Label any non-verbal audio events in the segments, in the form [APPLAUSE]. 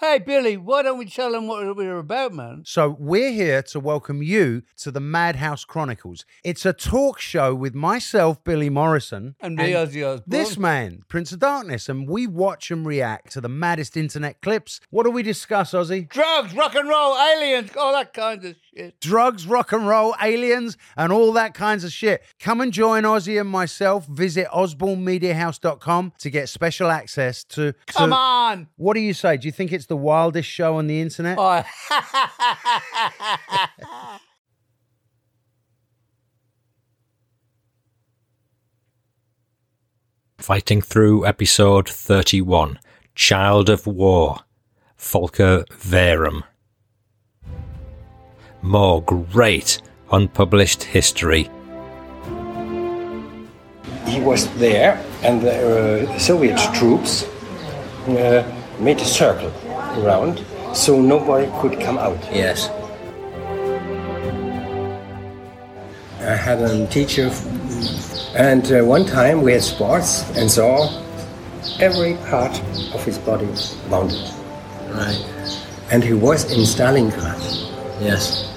Hey, Billy, why don't we tell them what we're about, man? So, we're here to welcome you to the Madhouse Chronicles. It's a talk show with myself, Billy Morrison, And me, Ozzy Osbourne. this man, Prince of Darkness, and we watch and react to the maddest internet clips. What do we discuss, Ozzy? Drugs, rock and roll, aliens, all that kind of shit. drugs, rock and roll, aliens, and all that kinds of shit. Come and join Ozzy and myself. Visit osbornemediahouse.com to get special access to. to- Come on! What do you say? Do you think it's the wildest show on the internet? Oh. [LAUGHS] Fighting through episode 31 Child of War, Volker Verum. More great unpublished history. he was there, and the uh, Soviet troops uh, made a circle around, so nobody could come out. Yes. I had a teacher, and uh, one time we had sports and saw every part of his body wounded, Right. and he was in Stalingrad. Yes.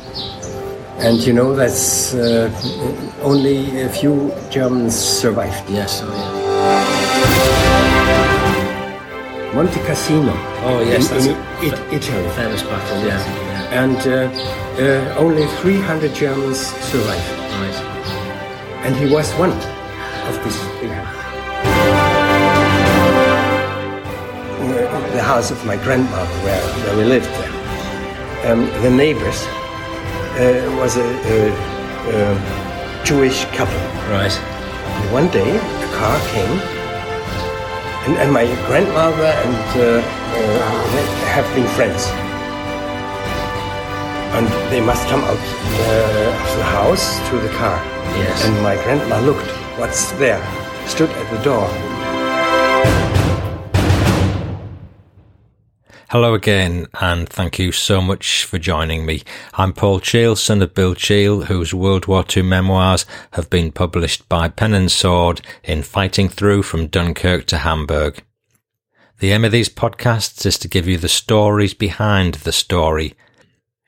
And you know that's uh, only a few Germans survived. Yes. Oh, yeah. Monte Cassino. Oh, yes, in, in that's- it, Italy. Famous battle. Yeah. yeah. and uh, uh, only 300 Germans survived. Right. And he was one of these 300. Uh, The house of my grandmother, where, where we lived there, um, the neighbors uh, was a, a, a Jewish couple. Right. And one day, a car came, and, and my grandmother and uh, uh, they have been friends. And they must come out uh, of the house to the car. Yes. And my grandma looked, what's there? Stood at the door. Hello again, and thank you so much for joining me. I'm Paul Cheel, son of Bill Cheel, whose World War II memoirs have been published by Pen and Sword in Fighting Through from Dunkirk to Hamburg. The aim of these podcasts is to give you the stories behind the story.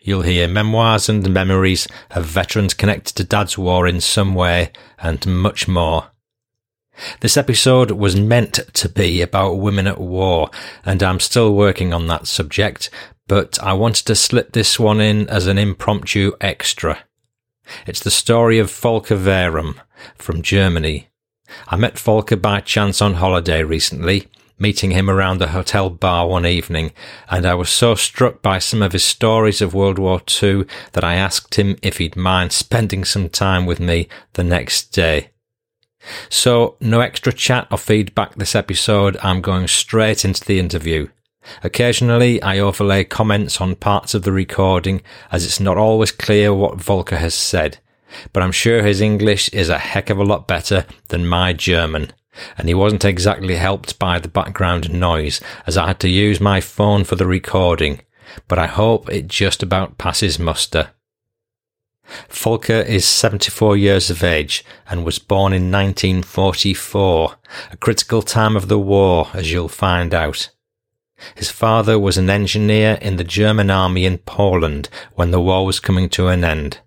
You'll hear memoirs and memories of veterans connected to Dad's War in some way, and much more. This episode was meant to be about women at war, and I'm still working on that subject, but I wanted to slip this one in as an impromptu extra. It's the story of Volker Verum from Germany. I met Volker by chance on holiday recently, meeting him around the hotel bar one evening, and I was so struck by some of his stories of World War II that I asked him if he'd mind spending some time with me the next day. So, no extra chat or feedback this episode. I'm going straight into the interview. Occasionally, I overlay comments on parts of the recording as it's not always clear what Volker has said. But I'm sure his English is a heck of a lot better than my German. And he wasn't exactly helped by the background noise as I had to use my phone for the recording. But I hope it just about passes muster. Volker is 74 years of age and was born in 1944, a critical time of the war, as you'll find out. His father was an engineer in the German army in Poland when the war was coming to an end.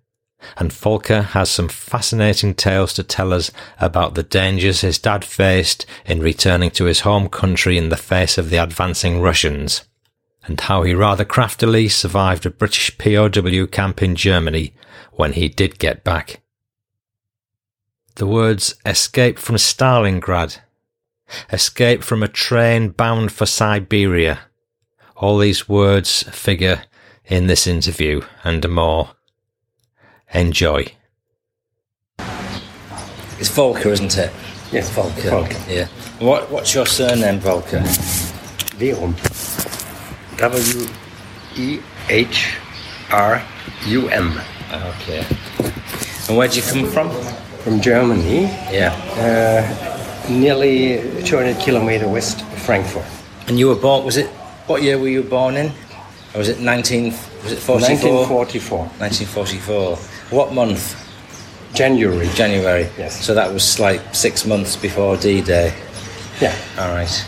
And Volker has some fascinating tales to tell us about the dangers his dad faced in returning to his home country in the face of the advancing Russians and how he rather craftily survived a British POW camp in Germany when he did get back. The words escape from Stalingrad, escape from a train bound for Siberia. All these words figure in this interview and more. Enjoy. It's Volker, isn't it? Yes, Volker. Volker. Yeah. What What's your surname, Volker? Verum. W E H R U M Okay. And where'd you come from? from Germany, Yeah. nearly 200 kilometer west of Frankfurt. And you were born, was it, what year were you born in? Or was it 19, was it 44? 1944, 1944. What month? January. January. Yes. So that was like six months before D-Day. Yeah. All right.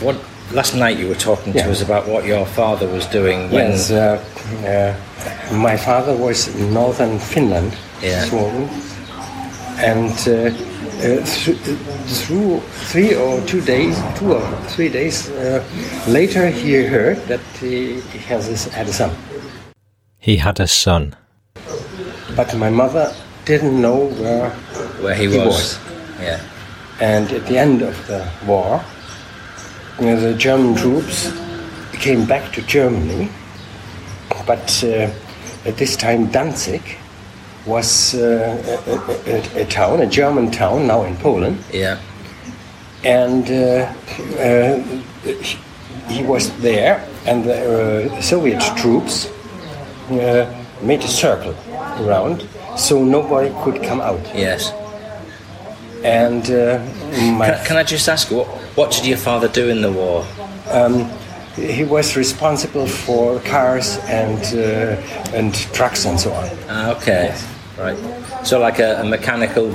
What last night you were talking Yeah. to us about what your father was doing when Yes, uh, uh, my father was in northern Finland, Yeah. Sweden, and uh, uh, th- through three or two days, two or three days uh, later, he heard that he has his, had a son. He had a son. But my mother didn't know where, where he, He was. was. Yeah. and at the end of the war, you know, the German troops came back to Germany, but uh, at this time Danzig was uh, a- a, a, a town, a German town now in Poland, Yeah. and uh, uh, he- he was there, and the uh, Soviet troops uh, made a circle around, so nobody could come out. Yes. And uh, my Can, can I just ask what what did your father do in the war? He was responsible for cars and uh, and trucks and so on. Ah, okay. Right. So like a, a mechanical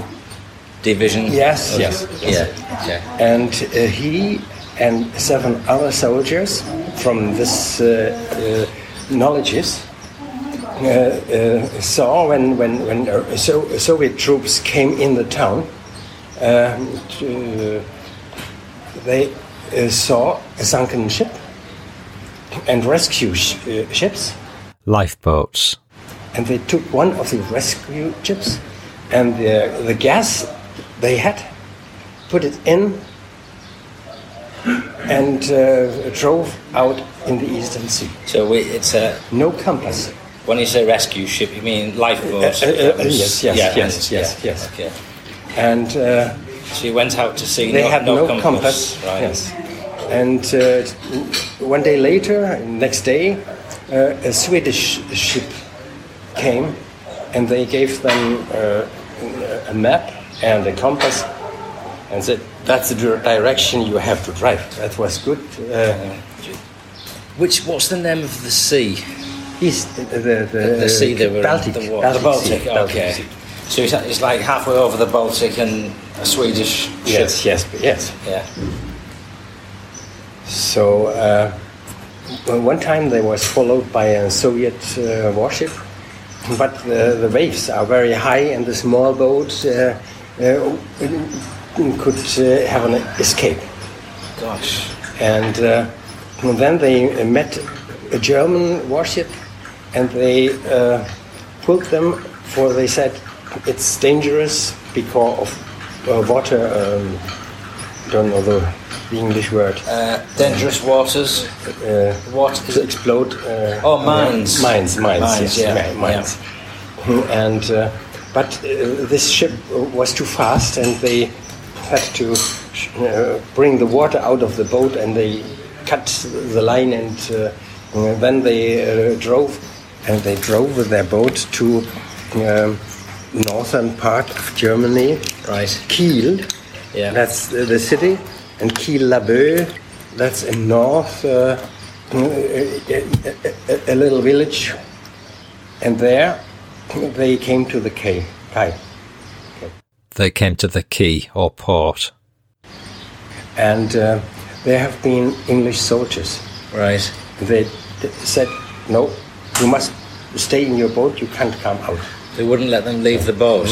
division. Yes, Or- yes, Yeah. Okay. And uh, he and seven other soldiers from this uh, uh, knowledges uh, uh, saw when when when uh, so, Soviet troops came in the town. Uh, to- they uh, saw a sunken ship and rescue sh- uh, ships. Lifeboats. and they took one of the rescue ships and the, the gas they had put it in and uh, drove out in the eastern sea So we, it's a no compass when you say rescue ship, you mean lifeboats? Uh, uh, uh, yes, yes, Yeah, yes, yes, yeah, yes. Okay. and uh, So you went out to sea. they no, had no, no, compass, Right. yes and uh, one day later next day uh, a swedish ship came and they gave them uh, a map and a compass and said that's the dir- direction you have to drive that was good uh, Which what's the name of the sea? east the, the, the, the sea that were Uh, baltic, in the water. baltic the Baltic, sea, Baltic okay. sea. So it's, it's like halfway over the Baltic and a Swedish yes ship. yes yes Yeah. So uh, well, one time they was followed by a Soviet uh, warship, but the, the waves are very high, and the small boat uh, uh, could uh, have an escape. Gosh. And uh, then they met a German warship, and they uh, pulled them for they said it's dangerous because of uh, water. Um, don't know the, the English word Uh, dangerous waters. uh, What is to it? explode. Uh, Oh, mines. yeah, Mines, mines, Mines, yes, yeah, mi- mines. And uh, but uh, this ship was too fast, and they had to uh, bring the water out of the boat, and they cut the line, and uh, then they uh, drove, and they drove with their boat to. Um, northern part of Germany, Right. Kiel, Yeah. that's the, the city, and Kiel Labeu, that's in north, uh, a, a- a little village, and there they came to the quay. quay. They came to the quay or port. And uh, there have been English soldiers. Right. They d- said, no, you must stay in your boat, you can't come out. They wouldn't let them leave the boat.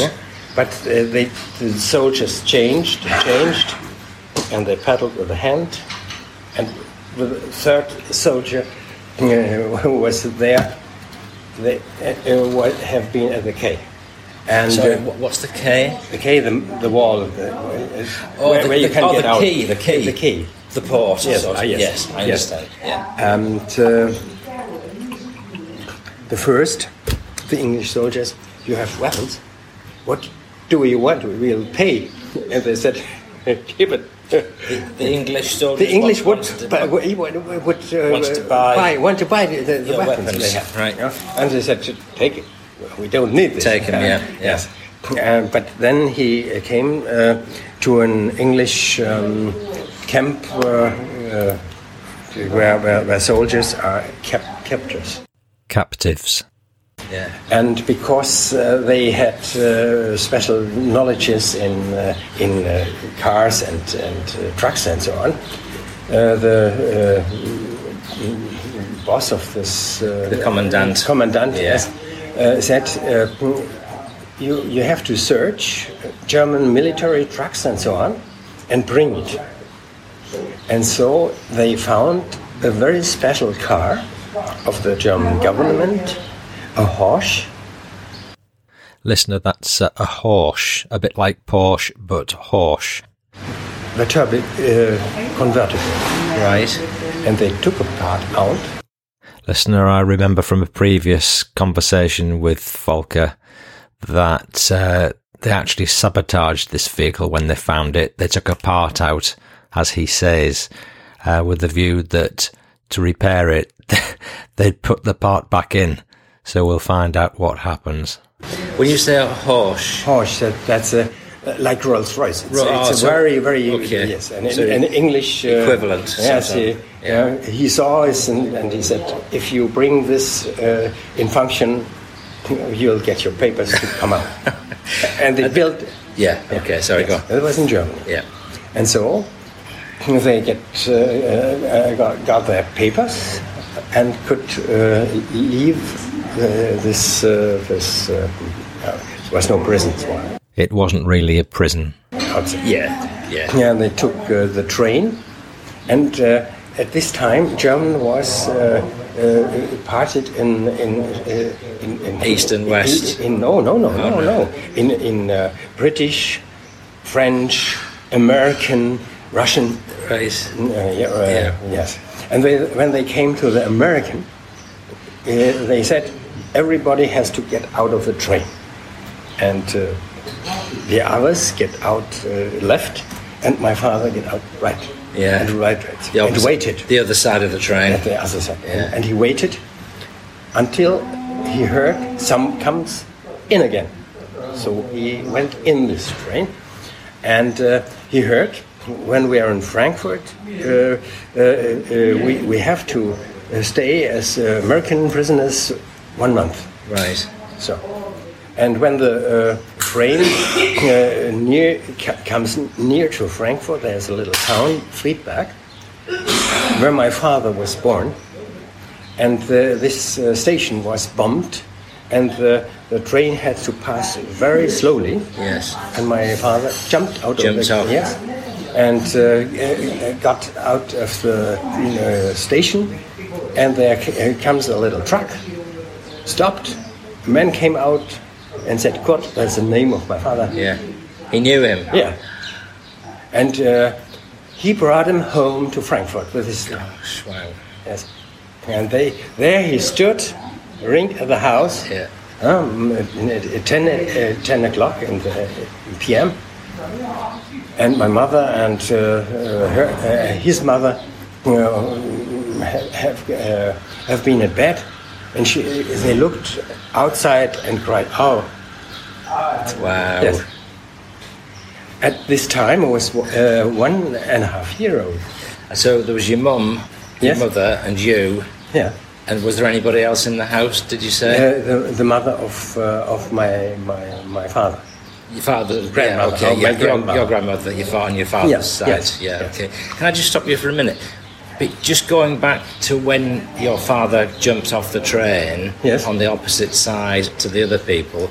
But uh, they, the soldiers changed, changed, and they paddled with a hand. And the third soldier uh, who was there, they uh, uh, wa- have been at the quay. And So uh, wh- what's the K? the quay, the, the wall, of the, uh, Oh, where, the, where you the- can oh, get the out. Key, the key. The quay. The port. Yes, sort of. ah, yes, I yes. understand. Yeah. And uh, the first, the English soldiers, you have weapons. What do you want? We will pay. And they said, [LAUGHS] give it. [LAUGHS] The English soldiers. The English would wanted to- buy, would, would, would, uh, Wanted to buy- want to buy the, the, the Yeah, weapons, weapons, they have, right. yeah. And they said, "Take it. We don't need this." Take 'em, Uh, yeah, yeah. Yes. Uh, but then he uh, came uh, to an English um, camp where, uh, where, where, where soldiers are kept captors. captives. yeah. And because uh, they had uh, special knowledges in, uh, in uh, cars and, and uh, trucks and so on, uh, the uh, boss of this. Uh, The commandant. Commandant, Yeah. yes. Uh, said, uh, you, you have to search German military trucks and so on and bring it. And so they found a very special car of the German government, a Horsch. Listener, that's uh, a Horsch, a bit like Porsche, but Horsch. the turbo uh, convertible, Right. and they took a part out. Listener, I remember from a previous conversation with Volker that uh, they actually sabotaged this vehicle when they found it. They took a part out, as he says, uh, with the view that to repair it, [LAUGHS] they'd put the part back in. So we'll find out what happens. When you say a horse, Porsche, that, Oh, that's a like Rolls Royce. It's, Ro- it's oh, a so- very, very okay. yes, an, So an English uh, equivalent, Yes, something. he, yeah. he saw us and, and he said, if you bring this uh, in function, [LAUGHS] you'll get your papers to come [LAUGHS] out. and they built. yeah. Okay, sorry, go. Yes, It was in Germany. Yeah. And so they get uh, uh, got, got their papers and could uh, leave uh, this uh, this. Uh, uh, there was no prison for them. It wasn't really a prison. outside. Yeah. Yeah. Yeah, and they took uh, the train, and uh, at this time Germany was uh, uh, parted in in, uh, in, in East and West. Oh, In, in- no, no, no, no, no. In in uh, British, French, American, Russian. Right. Uh, yeah, uh, Yeah. Yes. And they, when they came to the American, uh, they said everybody has to get out of the train, and uh, the others get out uh, left, and my father get out right. Yeah. And right, right. The and opposite- waited The other side of the train. at the other side, Yeah. and he waited until he heard some comes in again. So he went in this train, and uh, he heard when we are in Frankfurt, uh, uh, uh, we, we have to uh, stay as uh, American prisoners one month. Right. So, and when the uh, train uh, near ca- comes near to Frankfurt, there's a little town, Friedberg, where my father was born, and the, this uh, station was bombed, and the, the train had to pass very slowly. Yes. And my father jumped out of Jumped the out. yes, and uh, uh, got out of the uh, station, and there c- uh, comes a little truck, stopped. A man came out and said, "Kurt, that's the name of my father." Yeah. He knew him. Yeah. And uh, he brought him home to Frankfurt with his Gosh, wow. yes. And they there he stood, ring at the house. Yeah. Um, at, at 10, uh, 10 o'clock in the p.m. And my mother and uh, uh, her, uh, his mother you know, have, uh, have been at bed. And she, they looked outside and cried, Oh, Wow. Yes. At this time, I was uh, one and a half year old. So there was your mum, your Yes. mother, and you. Yeah. And was there anybody else in the house? Did you Uh, say the, the mother of, uh, of my, my, my father. your father, grandmother, Yeah, oh, okay, my your, grandmother. grandmother. your grandmother, your father, on your father's Yes, side. yes, yeah. yes. Okay. Can I just stop you for a minute? But just going back to when your father jumped off the train Yes. on the opposite side to the other people,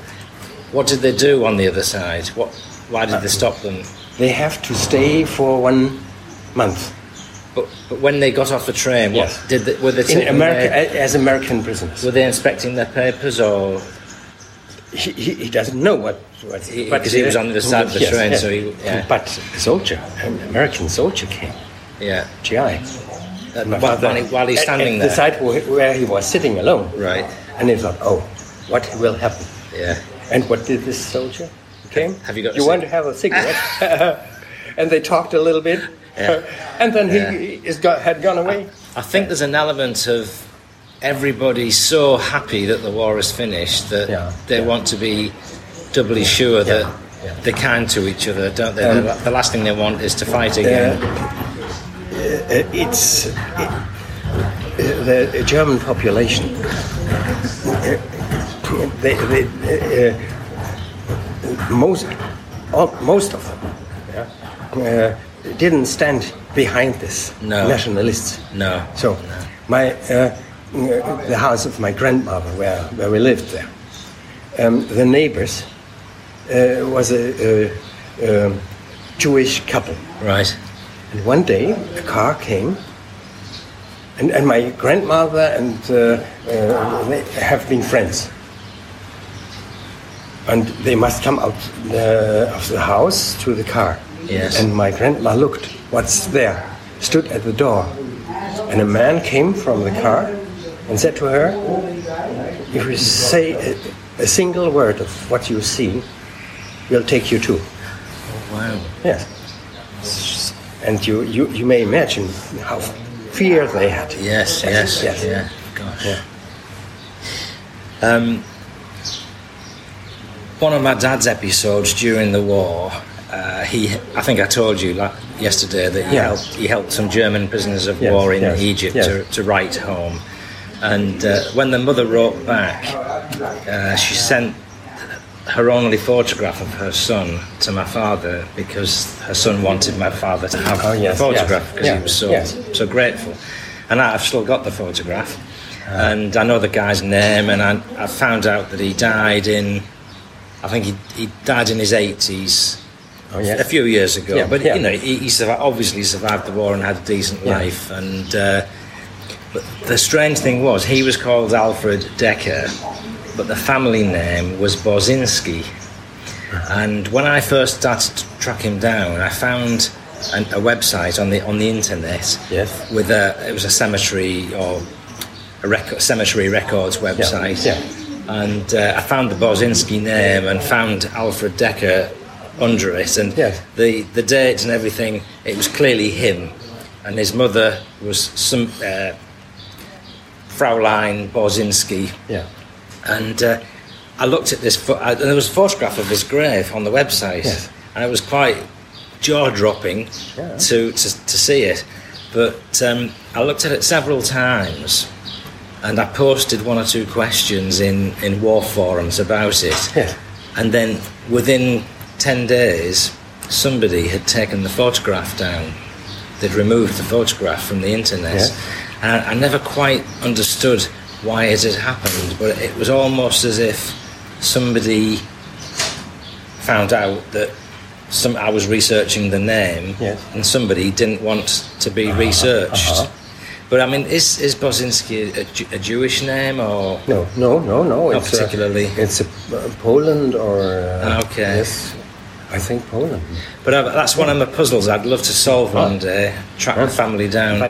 what did they do on the other side? What? Why Uh, did they stop them? They have to stay for one month But, but when they got off the train, what Yes. did they, were they in taking America eh? their- as American prisoners. were they inspecting their papers or He, he, he doesn't know what. what He- 'cause he was on the other side of the train, so he- yeah. But a soldier, an American soldier came, yeah? uh, GI. And my While- while he- while he's at- standing at there. Eh, the side where, where he was sitting alone. Right. And he thought, oh, what will happen? Yeah. And what did this soldier? Came. Have you got a You want cig- [LAUGHS] to have a cigarette? [LAUGHS] and they talked a little bit, Yeah. and then he Yeah. is got, had gone away. I think there's an element of everybody's so happy that the war is finished that Yeah, they want to be doubly sure that yeah. they're kind to each other, don't they? Um, the, the last thing they want is to fight again. Uh, it's it, the uh, German population. uh, They, they, uh, uh, most, all, most of them yeah, uh, didn't stand behind this No. nationalists. No. So, my uh, uh, the house of my grandmother, where where we lived there, um, the neighbors uh, was a, a, um Jewish couple. Right. And one day, a car came, and, and my grandmother and uh, uh, they have been friends. And they must come out uh, of the house to the car. Yes. And my grandma looked, what's there? Stood at the door. And a man came from the car and said to her, If you say a, a single word of what you see, we'll take you too. Wow. Yes. And you, you, you may imagine how fear they had. Yes, yes, yes. yeah. Gosh. Yeah. Um, one of my dad's episodes during the war, uh, he, I think I told you la yesterday that he, Yes. helped, he helped some German prisoners of Yes, war in yes, Egypt yes. to, to write home. And uh, when the mother wrote back, uh, she sent her only photograph of her son to my father because her son wanted my father to have Oh, yes, a photograph yes, because yeah, he was so yes. so grateful. And I've still got the photograph, Uh-huh. and I know the guy's name, and I, I found out that he died in, I think he, he died in his 80s. Oh, yes. A few years ago, Yeah, but yeah. you know, he, he survi- obviously survived the war and had a decent Yeah. life. And uh, but the strange thing was, he was called Alfred Decker, but the family name was Bozinski. And when I first started to track him down, I found an, a website on the on the internet. Yes. With a it was a cemetery or a record, cemetery records website. yeah. And uh, I found the Bozinski name and found Alfred Decker under it, and Yes. the the dates and everything. It was clearly him, and his mother was some uh, Fraulein Bozinski Yeah. and uh, I looked at this. Pho- I, there was a photograph of his grave on the website, Yes. and it was quite jaw dropping Yeah. to, to to see it. But um, I looked at it several times, and I posted one or two questions in in war forums about it. Yes. And then within ten days, somebody had taken the photograph down. They'd removed the photograph from the internet. Yes. And I never quite understood why it had happened, but it was almost as if somebody found out that some I was researching the name, Yes. Ah, uh-huh. and somebody didn't want to be researched. But I mean, is is Bozinski a, Ju- a Jewish name or? No, no, no, no. Not particularly. A, it's a, uh, Poland or. Uh, Okay. Yes. I think Poland. But I, that's one of my puzzles. I'd love to solve one day. Track the family down.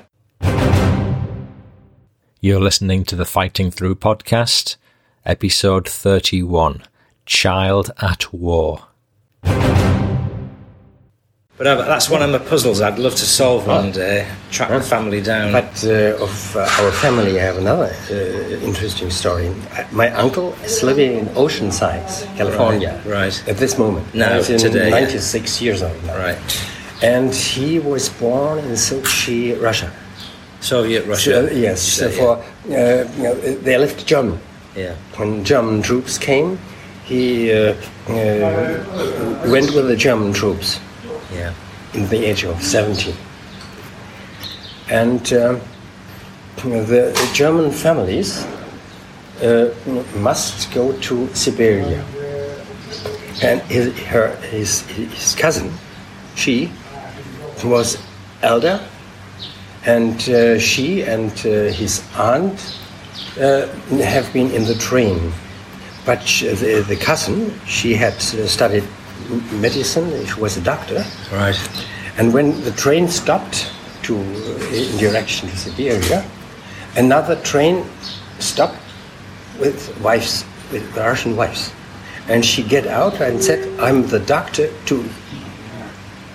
You're listening to the Fighting Through podcast, episode 31 Child at War. But I, that's one of my puzzles. I'd love to solve one day. Track the family down. But uh, of uh, our family, I have another uh, interesting story. Uh, My uncle is living in Oceanside, California. Right, right. At this moment. Now, He's in today, yeah. 96 years old now. right. And he was born in Sochi, Russia. Soviet So, Russia. uh, yes, you say, for, uh, you know, uh, they left Germany. Yeah. When German troops came, he uh, uh, went with the German troops yeah. in the age of 17. And um, the German families uh, must go to Siberia. And his, her, his, his cousin, she was elder, and uh, she and uh, his aunt uh, have been in the train. But sh uh, the, the cousin, she had uh, studied m- medicine, she was a doctor. yeah. Right. And when the train stopped to uh, in direction to Siberia, another train stopped with wives, with Russian wives, and she get out and said, "I'm the doctor to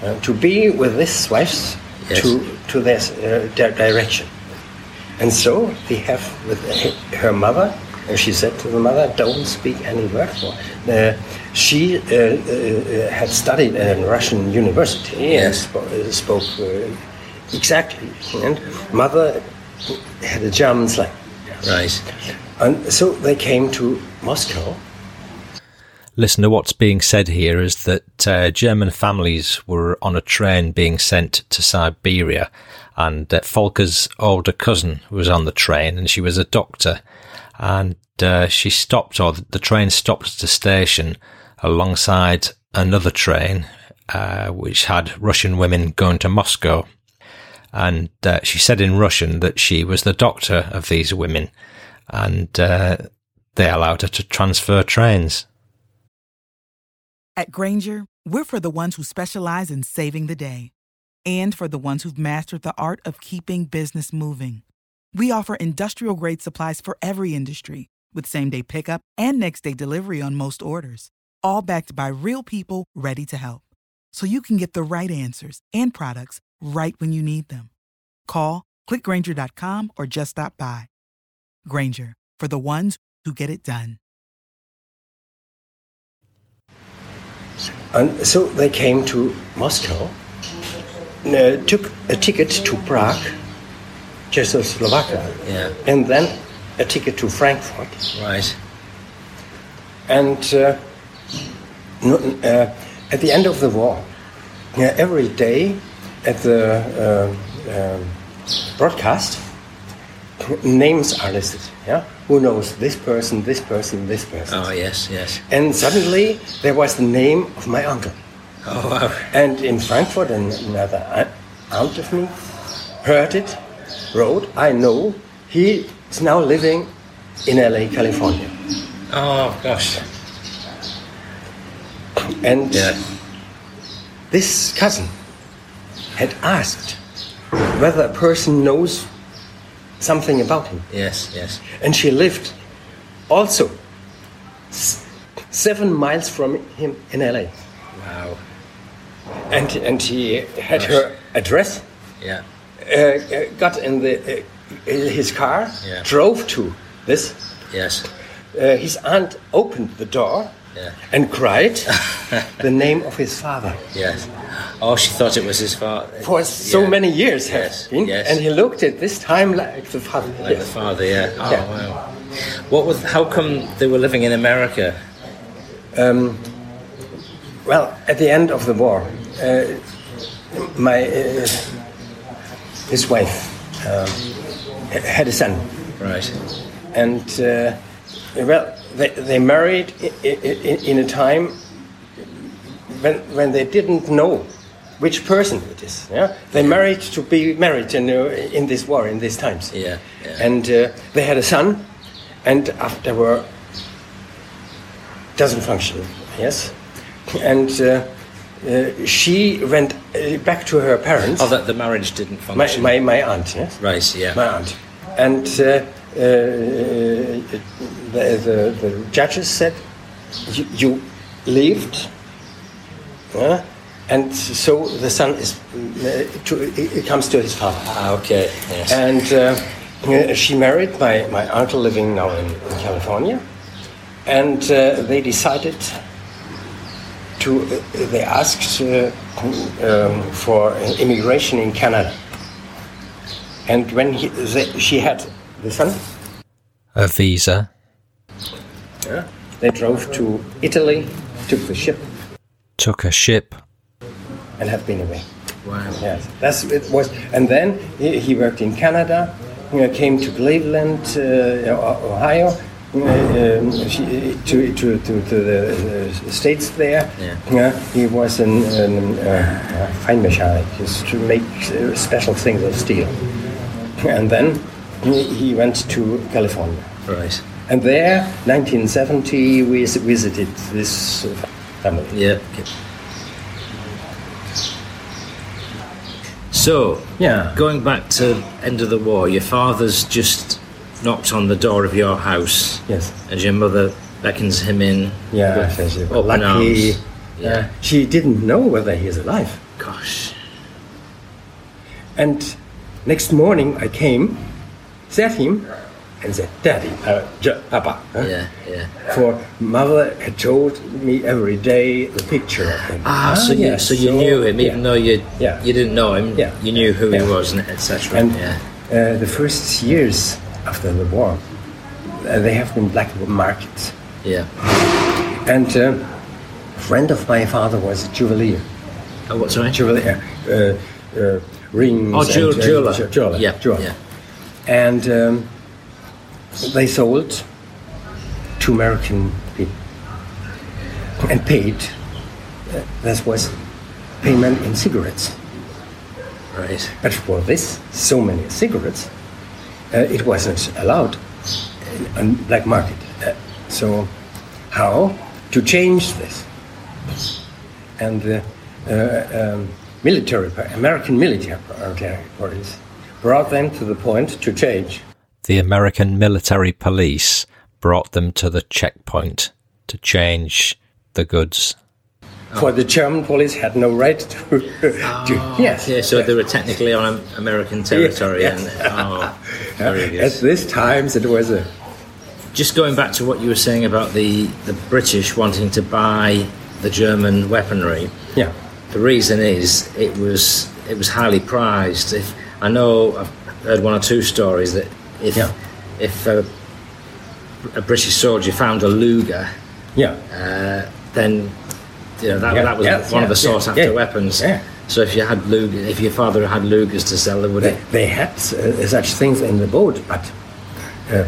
uh, to be with these slaves Yes. to, to their, uh, their direction. And so they have with uh, her mother, and she said to the mother, don't speak any word for it." Uh, she uh, uh, uh, had studied at a Russian university and Yes. spo- uh, spoke uh, exactly. And mother had a German slang. Right. And so they came to Moscow. Listener, what's being said here is that uh, German families were on a train being sent to Siberia, and uh, Folker's older cousin was on the train, and she was a doctor, and uh, she stopped, or the train stopped at a station alongside another train, uh, which had Russian women going to Moscow, and uh, she said in Russian that she was the doctor of these women, and uh, they allowed her to transfer trains. At Granger, we're for the ones who specialize in saving the day and for the ones who've mastered the art of keeping business moving. We offer industrial grade supplies for every industry with same day pickup and next day delivery on most orders, all backed by real people ready to help. So you can get the right answers and products right when you need them. Call clickgranger.com or just stop by. Granger for the ones who get it done. And so they came to Moscow, uh, took a ticket to Prague, Czechoslovakia, Yeah. and then a ticket to Frankfurt. Right. And uh, no, uh, at the end of the war, uh, every day at the uh, um, broadcast, names are listed. Yeah, who knows this person, this person, this person. Oh yes, yes. And suddenly there was the name of my uncle. Oh wow. And in Frankfurt, an- another a- aunt of me heard it, wrote, I know, he is now living in LA, California. Oh gosh. And Yeah. this cousin had asked whether a person knows something about him. Yes, yes. And she lived also s- seven miles from him in LA. Wow. And, and he had her address. Yeah. uh, uh, got in the uh, in his car, Yeah. drove to this. Yes. Uh, his aunt opened the door Yeah. and [LAUGHS] cried the name of his father. Yes. Oh, she thought it was his father. For so Yeah. many years has Yes, been, yes. and he looked at this time like the father. Like yes. the father, yeah. Oh, Yeah. wow. What was? How come they were living in America? Well, at the end of the war, uh, my uh, his wife um, h- had a son. Right. and uh, well, they, they married i- i- i- in a time when, when they didn't know which person it is. Yeah, they married to be married in, uh, in this war, in these times. Yeah, yeah. and uh, they had a son, and after war doesn't function. Yes, and. Uh, uh, she went uh, back to her parents. Oh, that the marriage didn't My, function. my, my aunt, yes? Right, yeah. My aunt. And uh, uh, the, the, the judges said, you, you lived, uh, and so the son is, uh, to, it comes to his father. Ah, okay. Yes. And uh, uh, she married my, my uncle living now in, in California, and uh, they decided to, uh, they asked uh, um, for immigration in Canada. And when he, they, she had the son, a visa. they drove to Italy, took the ship, took a ship. and have been away. wow. Yes, that's it was. And then he, he worked in Canada, you know, came to Cleveland, uh, O- Ohio, uh, um, she- to, to, to, to the uh, states there. Yeah. he was an, an uh, Feinmechanik, just to make uh, special things of steel. And then he, he went to California. Right. And there, 1970, we s- visited this uh, family. Yeah. okay. So, Yeah. going back to end of the war, your father's just knocked on the door of your house. Yes. And your mother beckons him in. Yeah, with she was open lucky. arms. Yeah. She didn't know whether he is alive. Of Gosh. And next morning I came, said him, and said, Daddy, uh, J- Papa. huh? Yeah, yeah. For mother had told me every day the picture of him. Ah, so you, yeah, so you knew him, even yeah. though you Yeah. you didn't know him. Yeah. You knew who he Yeah. was, and etc. And yeah. uh, the first years after the war, uh, they have been black markets. Yeah. And uh, a friend of my father was a jubilee. Oh, what, sorry? Jubilee, uh, uh, rings. Oh, jewel, and, uh, jeweler. ju- jeweler, Yeah, jeweler. yeah. And um, they sold to American people and paid. Uh, that was payment in cigarettes. Right. But for this, so many cigarettes, uh, it wasn't allowed in- on black market. Uh, so, how to change this? And the uh, um, military, par- American military par- parties brought them to the point to change. The American military police brought them to the checkpoint to change the goods. For the German police had no right to. [LAUGHS] to yes. Yeah, so they were technically on American territory. Yeah. [LAUGHS] And, oh, very good. At this times, it was a Just going back to what you were saying about the, the British wanting to buy the German weaponry, yeah. the reason is it was it was highly prized. If I know, I've heard one or two stories that if Yeah. if a, a British soldier found a Luger, Yeah. uh, then you know that, Yeah, that was yeah, one yeah, of the sought yeah, after yeah, weapons. yeah. So if you had Luger, if your father had Lugers to sell, they would They, they had uh, such things in the boat, but uh,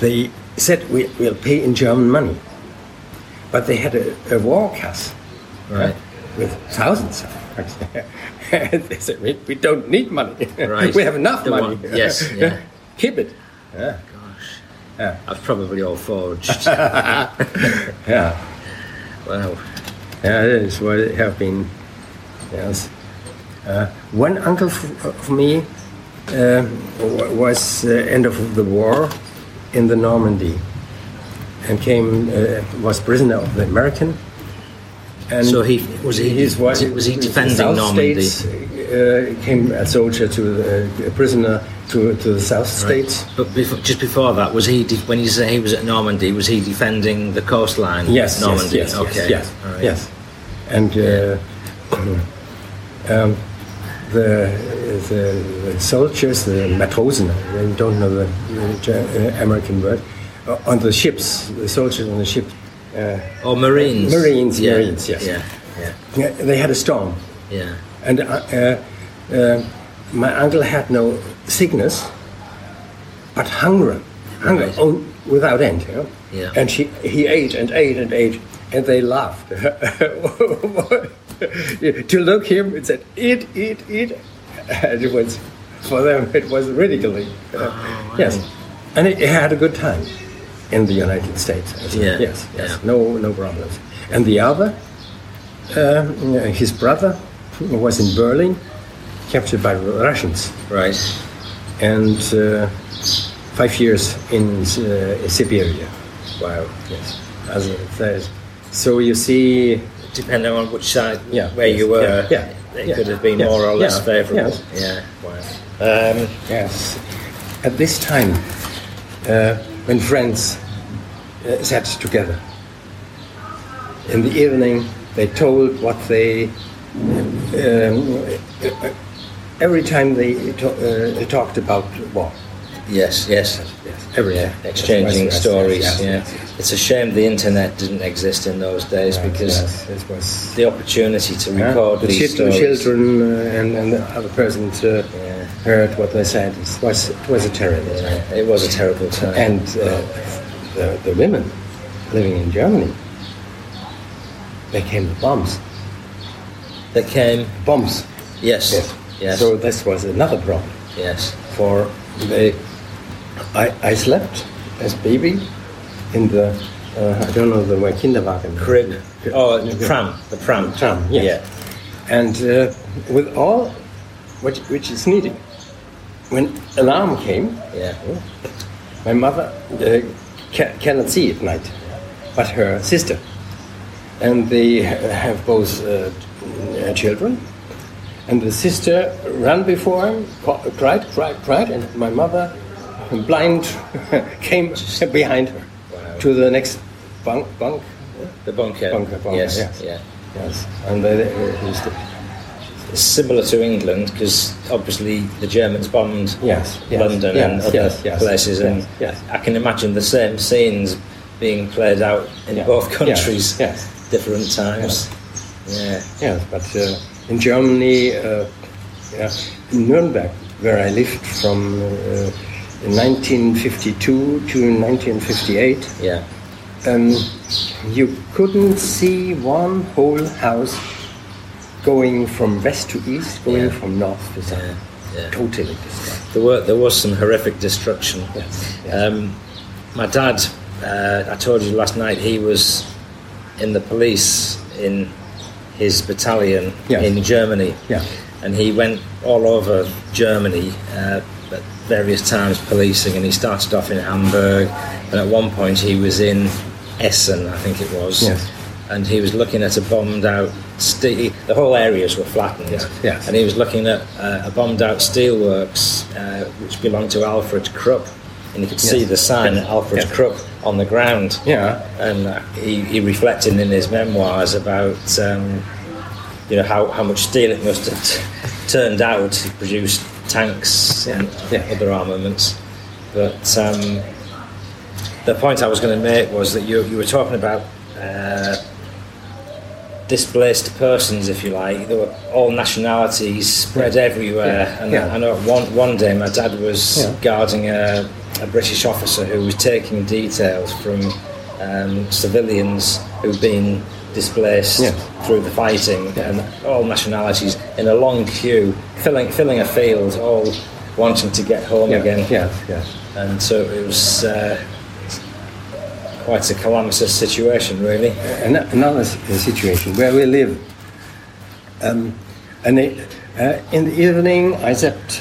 they said we will pay in German money. But they had a, a war cash right. with thousands of and [LAUGHS] they said, we, we don't need money. Right. [LAUGHS] we have enough The money. one- [LAUGHS] yes, yeah. Keep it. I've probably all [LAUGHS] forged. Yeah. wow. Yeah, that is what it have been. Yes. Uh, one uncle f- of me uh, wa- was uh, end of the war in the Normandy and came uh, was prisoner of the American. And So he- was he- his wife- was he the defending South Normandy? States, uh, came a soldier to the, a prisoner to, to the South States. But before, just before that, was he de- when you say he was at Normandy? Was he defending the coastline? Yes, of Normandy. yes, yes, okay. yes, all right. yes. And uh, um, the, the the soldiers, the matrosen, I don't know the uh, Ger- uh, American word, uh, on the ships, the soldiers on the ship, uh, Or Marines. Marines, Marines, yes. Yeah, yeah, yeah, they had a storm, yeah. and uh, uh, uh, my uncle had no sickness, but hunger, hunger Right. on, without end. You know? Yeah. And she, he ate and ate and ate, and they laughed. [LAUGHS] to look him and said, eat, eat, eat. And it was, for them, it was ridiculing. Oh, Yes. And he had a good time in the United States. I think. Yeah, Yes, yes. yeah. No, no problems. And the other, um, his brother, was in Berlin, captured by Russians Right. and uh, five years in uh, Siberia. Wow. Yes. As it says. So you see, Depending on which side, Yeah, where yes, you were, yeah, yeah, it yeah, could have been yeah, more or less yeah, favourable. yes. Yeah. Wow. Um, yes, at this time, uh, when friends uh, sat together in the evening, they told what they. Um, every time they to- uh, talked about war. yes. Yes. Yes. Every Exchanging yes, yes, stories. yes, yeah. yes, yes. It's a shame the internet didn't exist in those days because Yes, it was. the opportunity to Yeah, record the these children, stories. children uh, and, and the other persons uh, heard what they said. It was, it was a terrible time. Yeah, it was a terrible time. And uh, the, the women living in Germany, they came with bombs. they came. Bombs. Yes. Yes. Yes. So this was another problem. For they, I, I slept as baby in the, uh, I don't know the way, kinderwagen. Crib. Oh, the Yeah. pram. The pram. Tram, yes. And uh, with all which, which is needed, when alarm came, Yeah. Yeah. my mother uh, ca- cannot see at night, but her sister, and they ha- have both uh, uh, uh, children. And the sister ran before him, co- cried, cried, cried, and my mother, blind, [LAUGHS] came behind her to the next bunk. bunk The bunker. Bunker, bunker, yes, yes. yeah. yes, and they, they used it. It's similar to England because obviously the Germans bombed Yes, yes, London and yes, other yes, yes, places, and yes, yes. I can imagine the same scenes being played out in Yeah, both yes, countries, yes. different times. Yeah. Yes, but uh, in Germany, uh, yeah, in Nuremberg, where I lived from uh, 1952 to 1958, yeah, um, you couldn't see one whole house going from west to east, going Yeah. from north to south. Yeah, yeah. Totally destroyed. There were there was some horrific destruction. Yes, yes. Um, my dad, uh, I told you last night, he was in the police in his battalion Yes. in Germany. Yeah. And he went all over Germany uh, at various times policing, and he started off in Hamburg, and at one point he was in Essen, I think it was. Yes. And he was looking at a bombed out steel. The whole areas were flattened. Yes, yes. And he was looking at uh, a bombed out steelworks uh, which belonged to Alfred Krupp. And he could see the sign Alfred Yes. Krupp on the ground. Yeah. And uh, he, he reflected in his memoirs about um, you know how, how much steel it must have t- turned out to produce tanks and Yeah. other armaments. But um, the point I was going to make was that you, you were talking about uh, displaced persons, if you like. There were all nationalities spread everywhere. And Yeah. I know one, one day my dad was Yeah. guarding a, a British officer who was taking details from um, civilians who'd been displaced Yeah. through the fighting and all nationalities in a long queue, filling, filling a field, all wanting to get home Yeah, again Yes, yes. and so it was uh, quite a calamitous situation, really. An- another s- uh, situation where we live. Um, and it, uh, in the evening, I zapped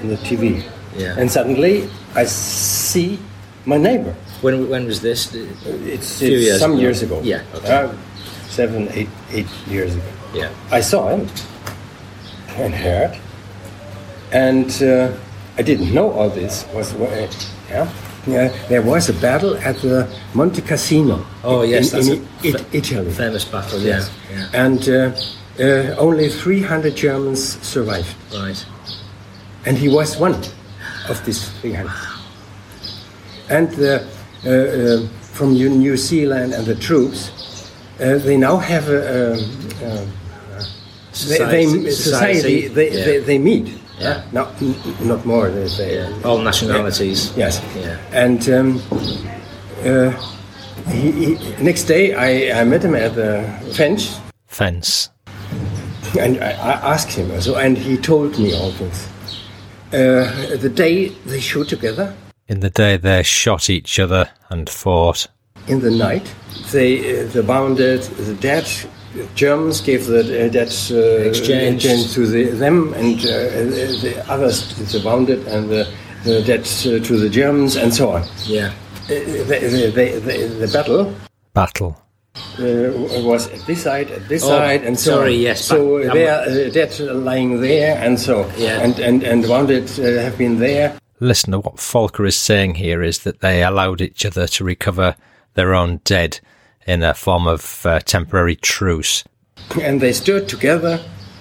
on the TV, Yeah. and suddenly I see my neighbor. When when was this? It's, Few it's years some ago. years ago. Yeah, okay. Uh, seven, eight, eight years ago. Yeah. I saw him and heard, and uh, I didn't know all this. Was uh, yeah. Yeah, there was a battle at the Monte Cassino. Oh yes, in, that's in a it, fa- Italy. famous battle. Yeah, Yes. yeah. And uh, uh, only 300 Germans survived. right. And he was one of these 300. And the, uh, uh, from New- New Zealand and the troops, uh, they now have a, um, um, they, they, society, they, yeah. they, they meet. Yeah. Not, n- not more. They, they, Yeah. all nationalities. Yes. Yeah. And um, uh, he, he, next day, I, I met him at the fence Fence. And I, I asked him, also, and he told me all this. Uh, the day they shoot together, In the day they shot each other and fought. in the night, they uh, the bounded the dead. Germans gave the uh, dead uh, Exchange. to the, them, and uh, uh, the others the bounded and the, the dead uh, to the Germans, and so on. Uh, Yeah. the, the, the, the, the battle Battle. uh, was at this side, at this Oh, side, and so sorry, on. yes, So but- they are uh, dead lying there, and so Yeah. and and and wounded uh, have been there. Listener, what Falker is saying here is that they allowed each other to recover their own dead in a form of uh, temporary truce. and they stood together,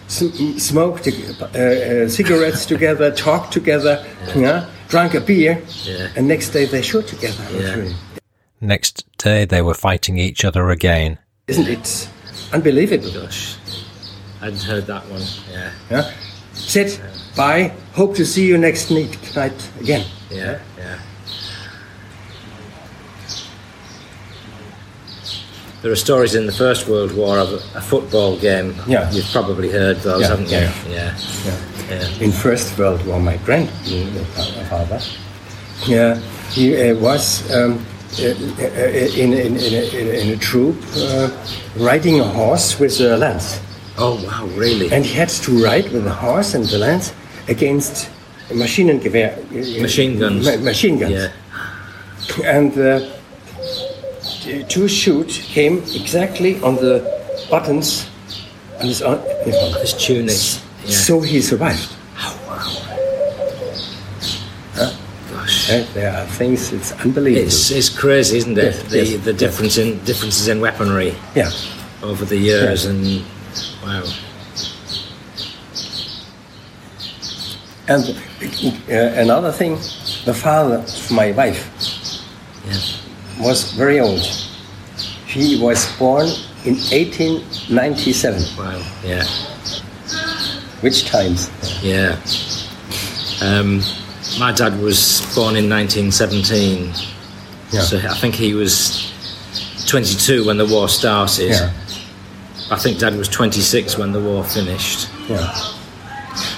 sm- smoked uh, uh, cigarettes [LAUGHS] together, talked together, yeah, drank a beer, Yeah. and next day they shot together. Yeah. Next day they were fighting each other again. Isn't it unbelievable? Gosh, I'd heard that one. Yeah. Yeah? Said, bye, hope to see you next night, night again. Yeah. Yeah. There are stories in the First World War of a- a football game. Yeah. You've probably heard those, Yeah, haven't you? yeah, yeah. yeah. In First World War, my grandfather, yeah, he uh, was um, uh, uh, in, in, in, a, in a- in a troop uh, riding a horse with a lance. Oh wow, really? And he had to ride with a horse and the lance against machine and gewehr, uh, Machine guns. ma- machine guns. Yeah. And uh, the two shoot came exactly on the buttons on his, own, His tunic. Yeah. So he survived. Gosh. Uh, there are things, it's unbelievable. It's, it's crazy, isn't it? Yes, the yes, the difference in differences in weaponry yeah. over the years and wow. And uh, another thing, the father of my wife Yeah. was very old. He was born in 1897. Wow. Yeah. Which times? Yeah. Um, my dad was born in 1917, Yeah. so I think he was 22 when the war started. Yeah. I think Dad was 26 when the war finished. Yeah.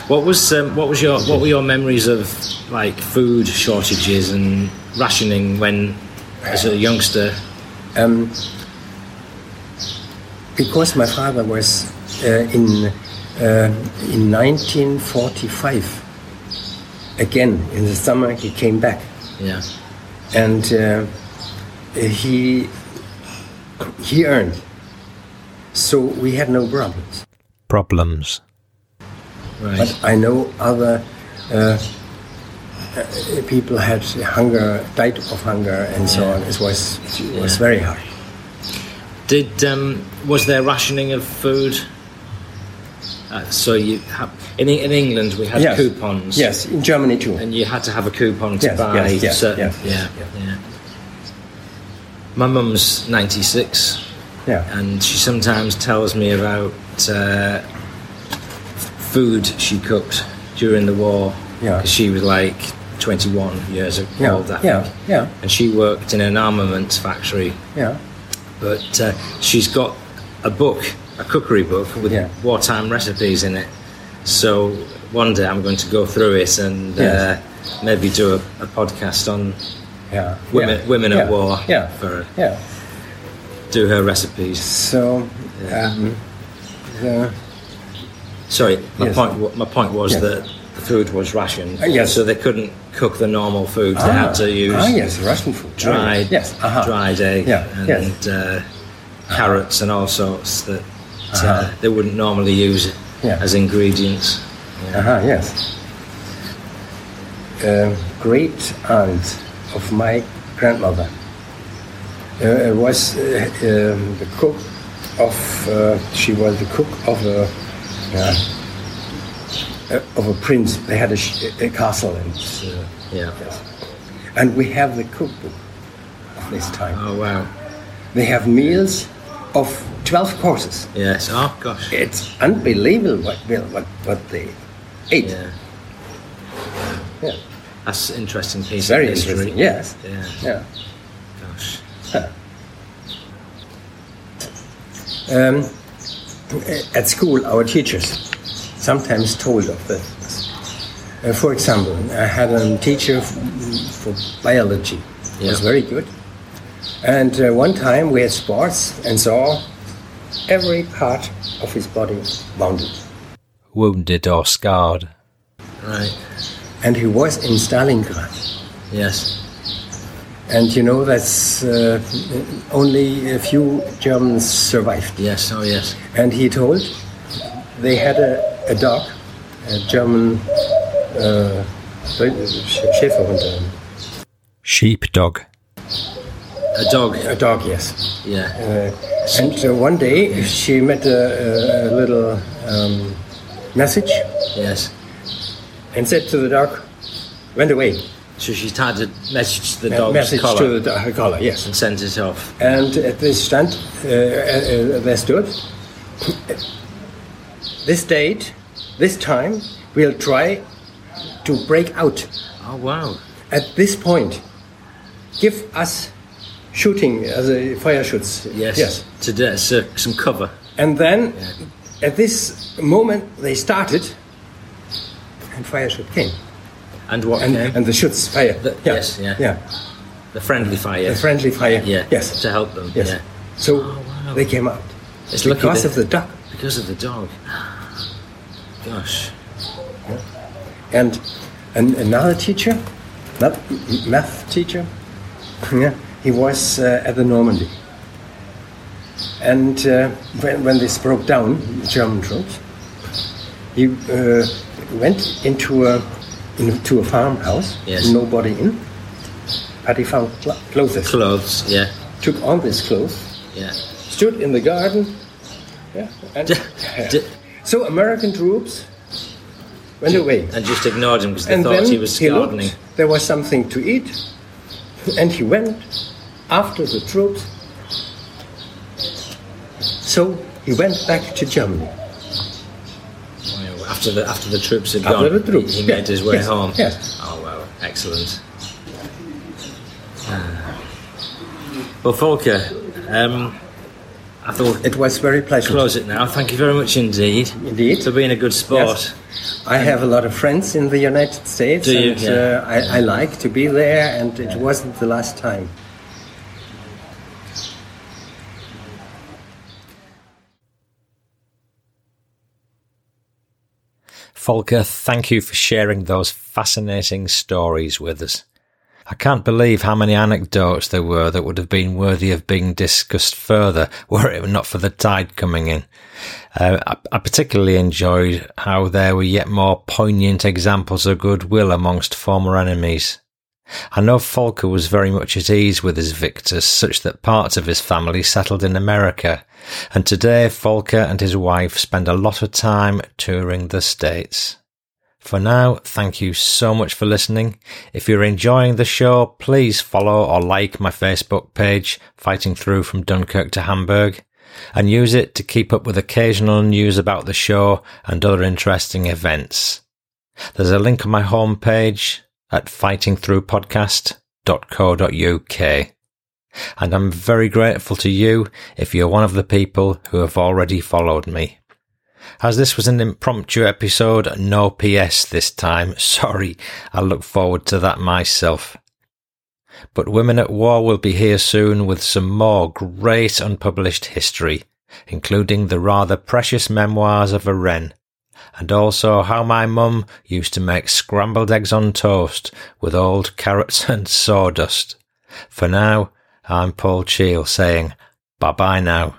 What was um, what was your what were your memories of like food shortages and rationing when as a youngster? Um, because my father was uh, in uh, in 1945. Again in the summer, he came back, Yeah, and uh, he he earned. So we had no problems. Problems. right. But I know other uh, uh, people had hunger, died of hunger, and so on. It was it was very hard. Did um, was there rationing of food? Uh, so you ha- in E- in England we had Yes. coupons. Yes, in Germany too. and you had to have a coupon to Yes, buy yes, yes, certain. yes, yeah, yes, yeah, My mum's ninety six, yeah. and she sometimes tells me about uh, food she cooked during the war. Yeah. 'Cause she was like twenty one years old. Yeah, I think. yeah, yeah. And she worked in an armaments factory Yeah, but uh, she's got a book, a cookery book with Yeah. wartime recipes in it. So one day I'm going to go through it and Yes. uh, maybe do a, a podcast on yeah. women, yeah, women yeah, at war. Yeah, for yeah. do her recipes. So, um, the, Sorry, my Yes. point. wa- My point was Yes. that the food was rationed. Ah, yes. So they couldn't cook the normal foods. they had to use ah yes, Russian food. dried, yes, uh-huh. dried egg Yeah, and yes. Uh-huh. uh, carrots and all sorts that uh, they wouldn't normally use Yeah. as ingredients. Uh-huh, yes. Um great aunt of my grandmother uh, was uh, um, the cook of. Uh, she was the cook of a. Uh, uh, of a prince, they had a, sh- a castle, and uh, Yeah. and we have the cookbook of this time. Oh wow. They have meals of 12 courses. Yes. Oh gosh. It's unbelievable what, well, what, what they ate. Yeah. Yeah. That's an interesting piece. It's very of history. interesting. Yes. Yeah. Yeah. Gosh. Um, at school, our teachers sometimes told of that. Uh, for example, I had a teacher f- for biology. He was Yeah. very good. And uh, one time we had sports and saw every part of his body wounded. Wounded or scarred. Right. And he was in Stalingrad. Yes. And you know, that's uh, only a few Germans survived. Yes. Oh yes. And he told they had a, a dog, a German uh, Schäferhund, um, Sheepdog. A dog. a dog, yes. Yeah. Uh, and uh, one day she met a, a, a little um, message Yes. and said to the dog, went away. So she tied a message to the Me- dog's message collar to the dog, her collar, yes. and sent it off. And at this stand, uh, uh, uh, there stood, this date, this time, we'll try to break out. Oh wow. At this point, give us shooting, as a fire shoots. Yes. To do, so, some cover. And then, at this moment, they started, and fire shoot came. And what And, came? and the shoots fire. The- yes, yeah. Yeah. the friendly fire. The friendly fire. Yeah. Yes. To help them. Yes. Yeah. Oh, So wow. they came out. It's lucky because that- of the duck. Because of the dog. Gosh. And an, another teacher, math, [LAUGHS] math teacher, yeah, he was uh, at the Normandy. And uh, when, when this broke down, the German troops, he uh, went into a, into a farmhouse, Yes. nobody in, but he found cl- clothes. Clothes, yeah, Took on these clothes, [LAUGHS] yeah. stood in the garden. Yeah, and d- so American troops went away. And just ignored him because they thought then he was he looked, gardening. there was something to eat, and he went after the troops. So he went back to Germany. Oh, After the after the troops had After gone, the troops, he, he yeah, made his way yes, home. yes. Oh wow, excellent. Ah. Well, Volker, um, I thought It was very pleasant. close it now. Thank you very much indeed. Indeed. for being a good sport. Yes. I have a lot of friends in the United States, Do you? and Yeah. uh, I, I like to be there. And it wasn't the last time. Volker, thank you for sharing those fascinating stories with us. I can't believe how many anecdotes there were that would have been worthy of being discussed further [LAUGHS] were it not for the tide coming in. Uh, I, I particularly enjoyed how there were yet more poignant examples of goodwill amongst former enemies. I know Folker was very much at ease with his victors, such that parts of his family settled in America, and today Folker and his wife spend a lot of time touring the States. For now, thank you so much for listening. If you're enjoying the show, please follow or like my Facebook page, Fighting Through from Dunkirk to Hamburg, and use it to keep up with occasional news about the show and other interesting events. There's a link on my homepage at fightingthroughpodcast.co.uk. And I'm very grateful to you if you're one of the people who have already followed me. As this was an impromptu episode, no PS this time. [LAUGHS] Sorry, I look forward to that myself. But Women at War will be here soon with some more great unpublished history, including the rather precious memoirs of a wren and also how my mum used to make scrambled eggs on toast with old carrots [LAUGHS] and sawdust. For now, I'm Paul Cheel saying bye bye now.